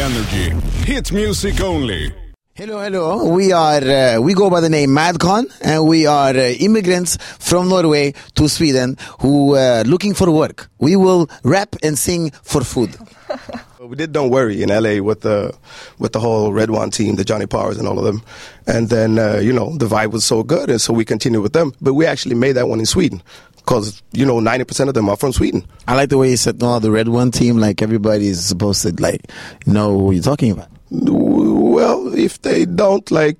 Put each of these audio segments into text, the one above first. energy. Hit music only. Hello, hello. We are uh, we go by the name Madcon, and we are uh, immigrants from Norway to Sweden who uh, looking for work. We will rap and sing for food. But We did Don't Worry in LA with the with the whole Red One team, the Johnny Powers and all of them. And then uh, you know the vibe was so good, and so we continued with them. But we actually made that one in Sweden because you know ninety percent of them are from Sweden. I like the way you said, "No, the red one team." Like everybody is supposed to like know who you're talking about. Well, if they don't like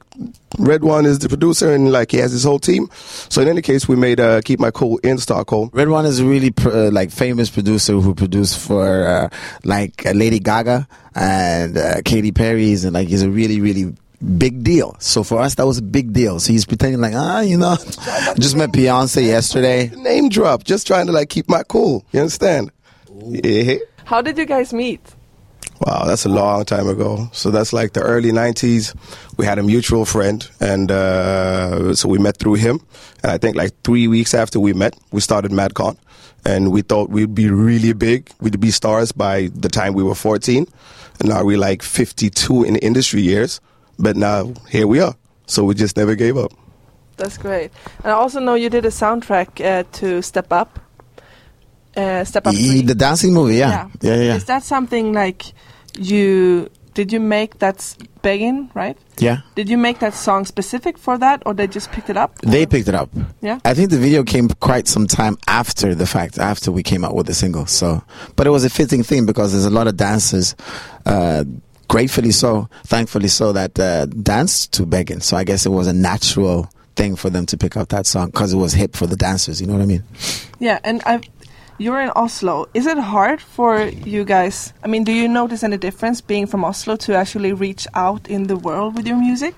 Red One is the producer and like he has his whole team. So in any case, we made uh, Keep My Cool in Stockholm. Red One is a really pr- uh, like famous producer who produced for uh, like uh, Lady Gaga and uh, Katy Perry's, and like he's a really really big deal. So for us, that was a big deal. So he's pretending like ah, you know, just met Beyonce yesterday. Name drop, just trying to like keep my cool. You understand? Yeah. How did you guys meet? Wow, that's a long time ago. So that's like the early 90s. We had a mutual friend, and uh, so we met through him. And I think like three weeks after we met, we started MadCon. And we thought we'd be really big. We'd be stars by the time we were 14. And now we're like 52 in industry years. But now here we are. So we just never gave up. That's great. And I also know you did a soundtrack uh, to Step Up. Uh, Step Up. He- 3. the dancing movie, yeah, yeah, yeah, yeah. Is that something like you did you make that s- begging right? yeah. Did you make that song specific for that, or they just picked it up? They picked it up. Yeah. I think the video came quite some time after the fact, after we came out with the single. So, but it was a fitting thing because there's a lot of dancers, uh, gratefully so, thankfully so, that uh, danced to begging. So I guess it was a natural thing for them to pick up that song because it was hip for the dancers. You know what I mean? Yeah, and I've. You're in Oslo. Is it hard for you guys? I mean, do you notice any difference being from Oslo to actually reach out in the world with your music?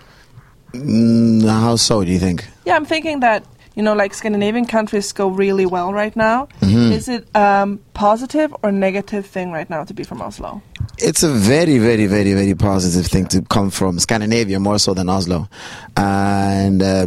Mm, how so? Do you think? Yeah, I'm thinking that you know, like Scandinavian countries go really well right now. Mm-hmm. Is it um, positive or negative thing right now to be from Oslo? It's a very, very, very, very positive thing to come from Scandinavia more so than Oslo, and uh,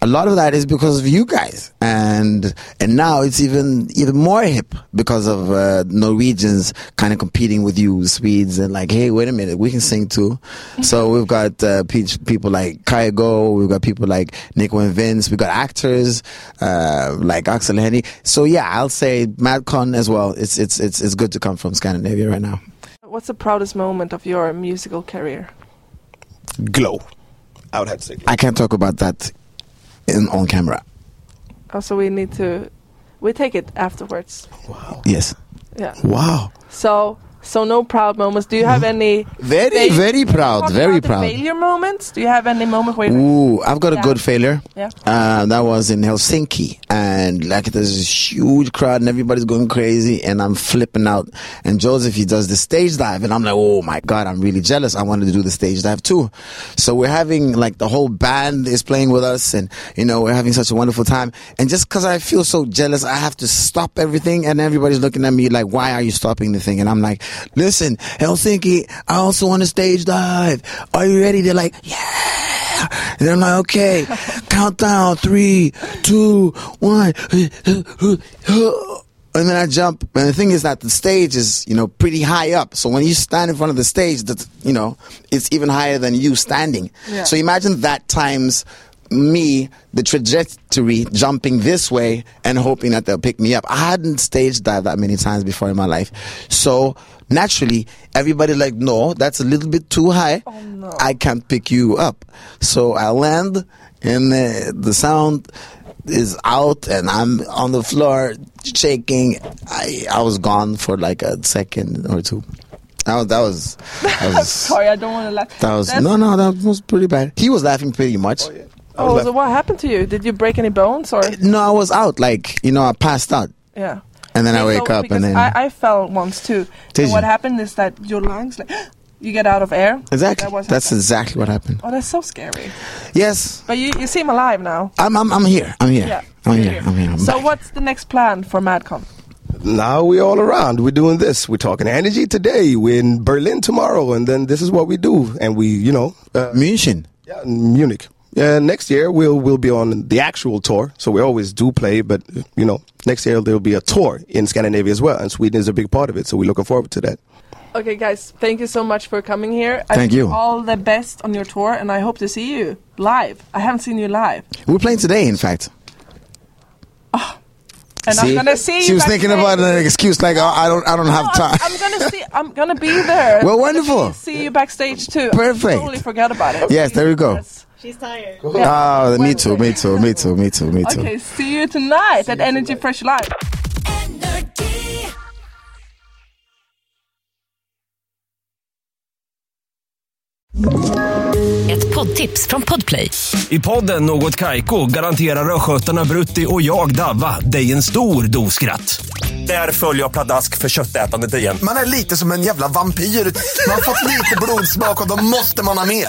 a lot of that is because of you guys, and and now it's even even more hip because of uh, Norwegians kind of competing with you Swedes and like, hey, wait a minute, we can sing too. So we've got uh, pe- people like Kai Go, we've got people like Nico and Vince, we've got actors uh, like Axel Henny. So yeah, I'll say Madcon as well. It's it's it's it's good to come from Scandinavia right now. What's the proudest moment of your musical career? Glow. I would have to say glow. I can't talk about that in, on camera. Also, we need to we take it afterwards. Wow. Yes. Yeah. Wow. So so no proud moments. Do you have any? Very, fail- very proud. Talk Very about the proud. failure moments. Do you have any moment where? you're Ooh, like, I've got a Yeah. good failure. Yeah. Uh, that was in Helsinki, and like there's this huge crowd, and everybody's going crazy, and I'm flipping out. And Joseph, he does the stage dive, and I'm like, oh my god, I'm really jealous. I wanted to do the stage dive too. So we're having like the whole band is playing with us, and you know we're having such a wonderful time. And just because I feel so jealous, I have to stop everything, and everybody's looking at me like, why are you stopping the thing? And I'm like, listen, Helsinki, I also want to stage dive. Are you ready? They're like, yeah. And I'm like, okay, countdown three, two, one. And then I jump. And the thing is that the stage is, you know, pretty high up. So when you stand in front of the stage, that you know, it's even higher than you standing. Yeah. So imagine that times me, the trajectory, jumping this way and hoping that they'll pick me up. I hadn't stage dived that many times before in my life. So naturally, everybody like, no, that's a little bit too high. Oh, no. I can't pick you up. So I land, and the, the sound is out, and I'm on the floor shaking. I I was gone for like a second or two. That was that was, that was, Sorry, I don't want to laugh. that was That's- no no that was pretty bad. He was laughing pretty much. I was Oh, like- so what happened to you? Did you break any bones or? No, I was out. Like you know, I passed out, Yeah. and then I So, wake up, because and then I, I fell once too. Did and What you? happened is that your lungs, like, you get out of air. exactly That was that's happened. exactly what happened. Oh, that's so scary. Yes, But you, you seem alive now. I'm I'm I'm here. I'm here. Yeah. I'm you're here. I'm here. I'm so, back. what's the next plan for Madcon? now we're all around. We're doing this. We're talking energy today. We're in Berlin tomorrow, and then this is what we do. And we, you know, uh, München. yeah, in Munich. Uh, next year we'll we'll be on the actual tour. So we always do play, but you know, next year there'll be a tour in Scandinavia as well, and Sweden is a big part of it. So we're looking forward to that. Okay, guys, thank you so much for coming here. I Thank wish you. All the best on your tour, and I hope to see you live. I haven't seen you live, We're playing today, in fact. and I'm gonna see you. She was guys thinking today. about an excuse like, oh, I don't, I don't No, have I'm, time. I'm gonna see. I'm gonna be there. Well, I'm gonna wonderful. be- See you backstage too. I Perfect. totally forgot about it. Yes, there we go. Yes. She's tired. Ah, me too, me too, me too, me too, me too. Okay, see you tonight at Energy Fresh Live. Energy. Ett poddtips från Podplay. I podden Något Kaiko garanterar östgötarna Brutti och jag, Davva, dig en stor dos skratt. Där följer jag pladask för köttätandet igen. Man är lite som en jävla vampyr. Man har fått lite blodsmak och då måste man ha mer.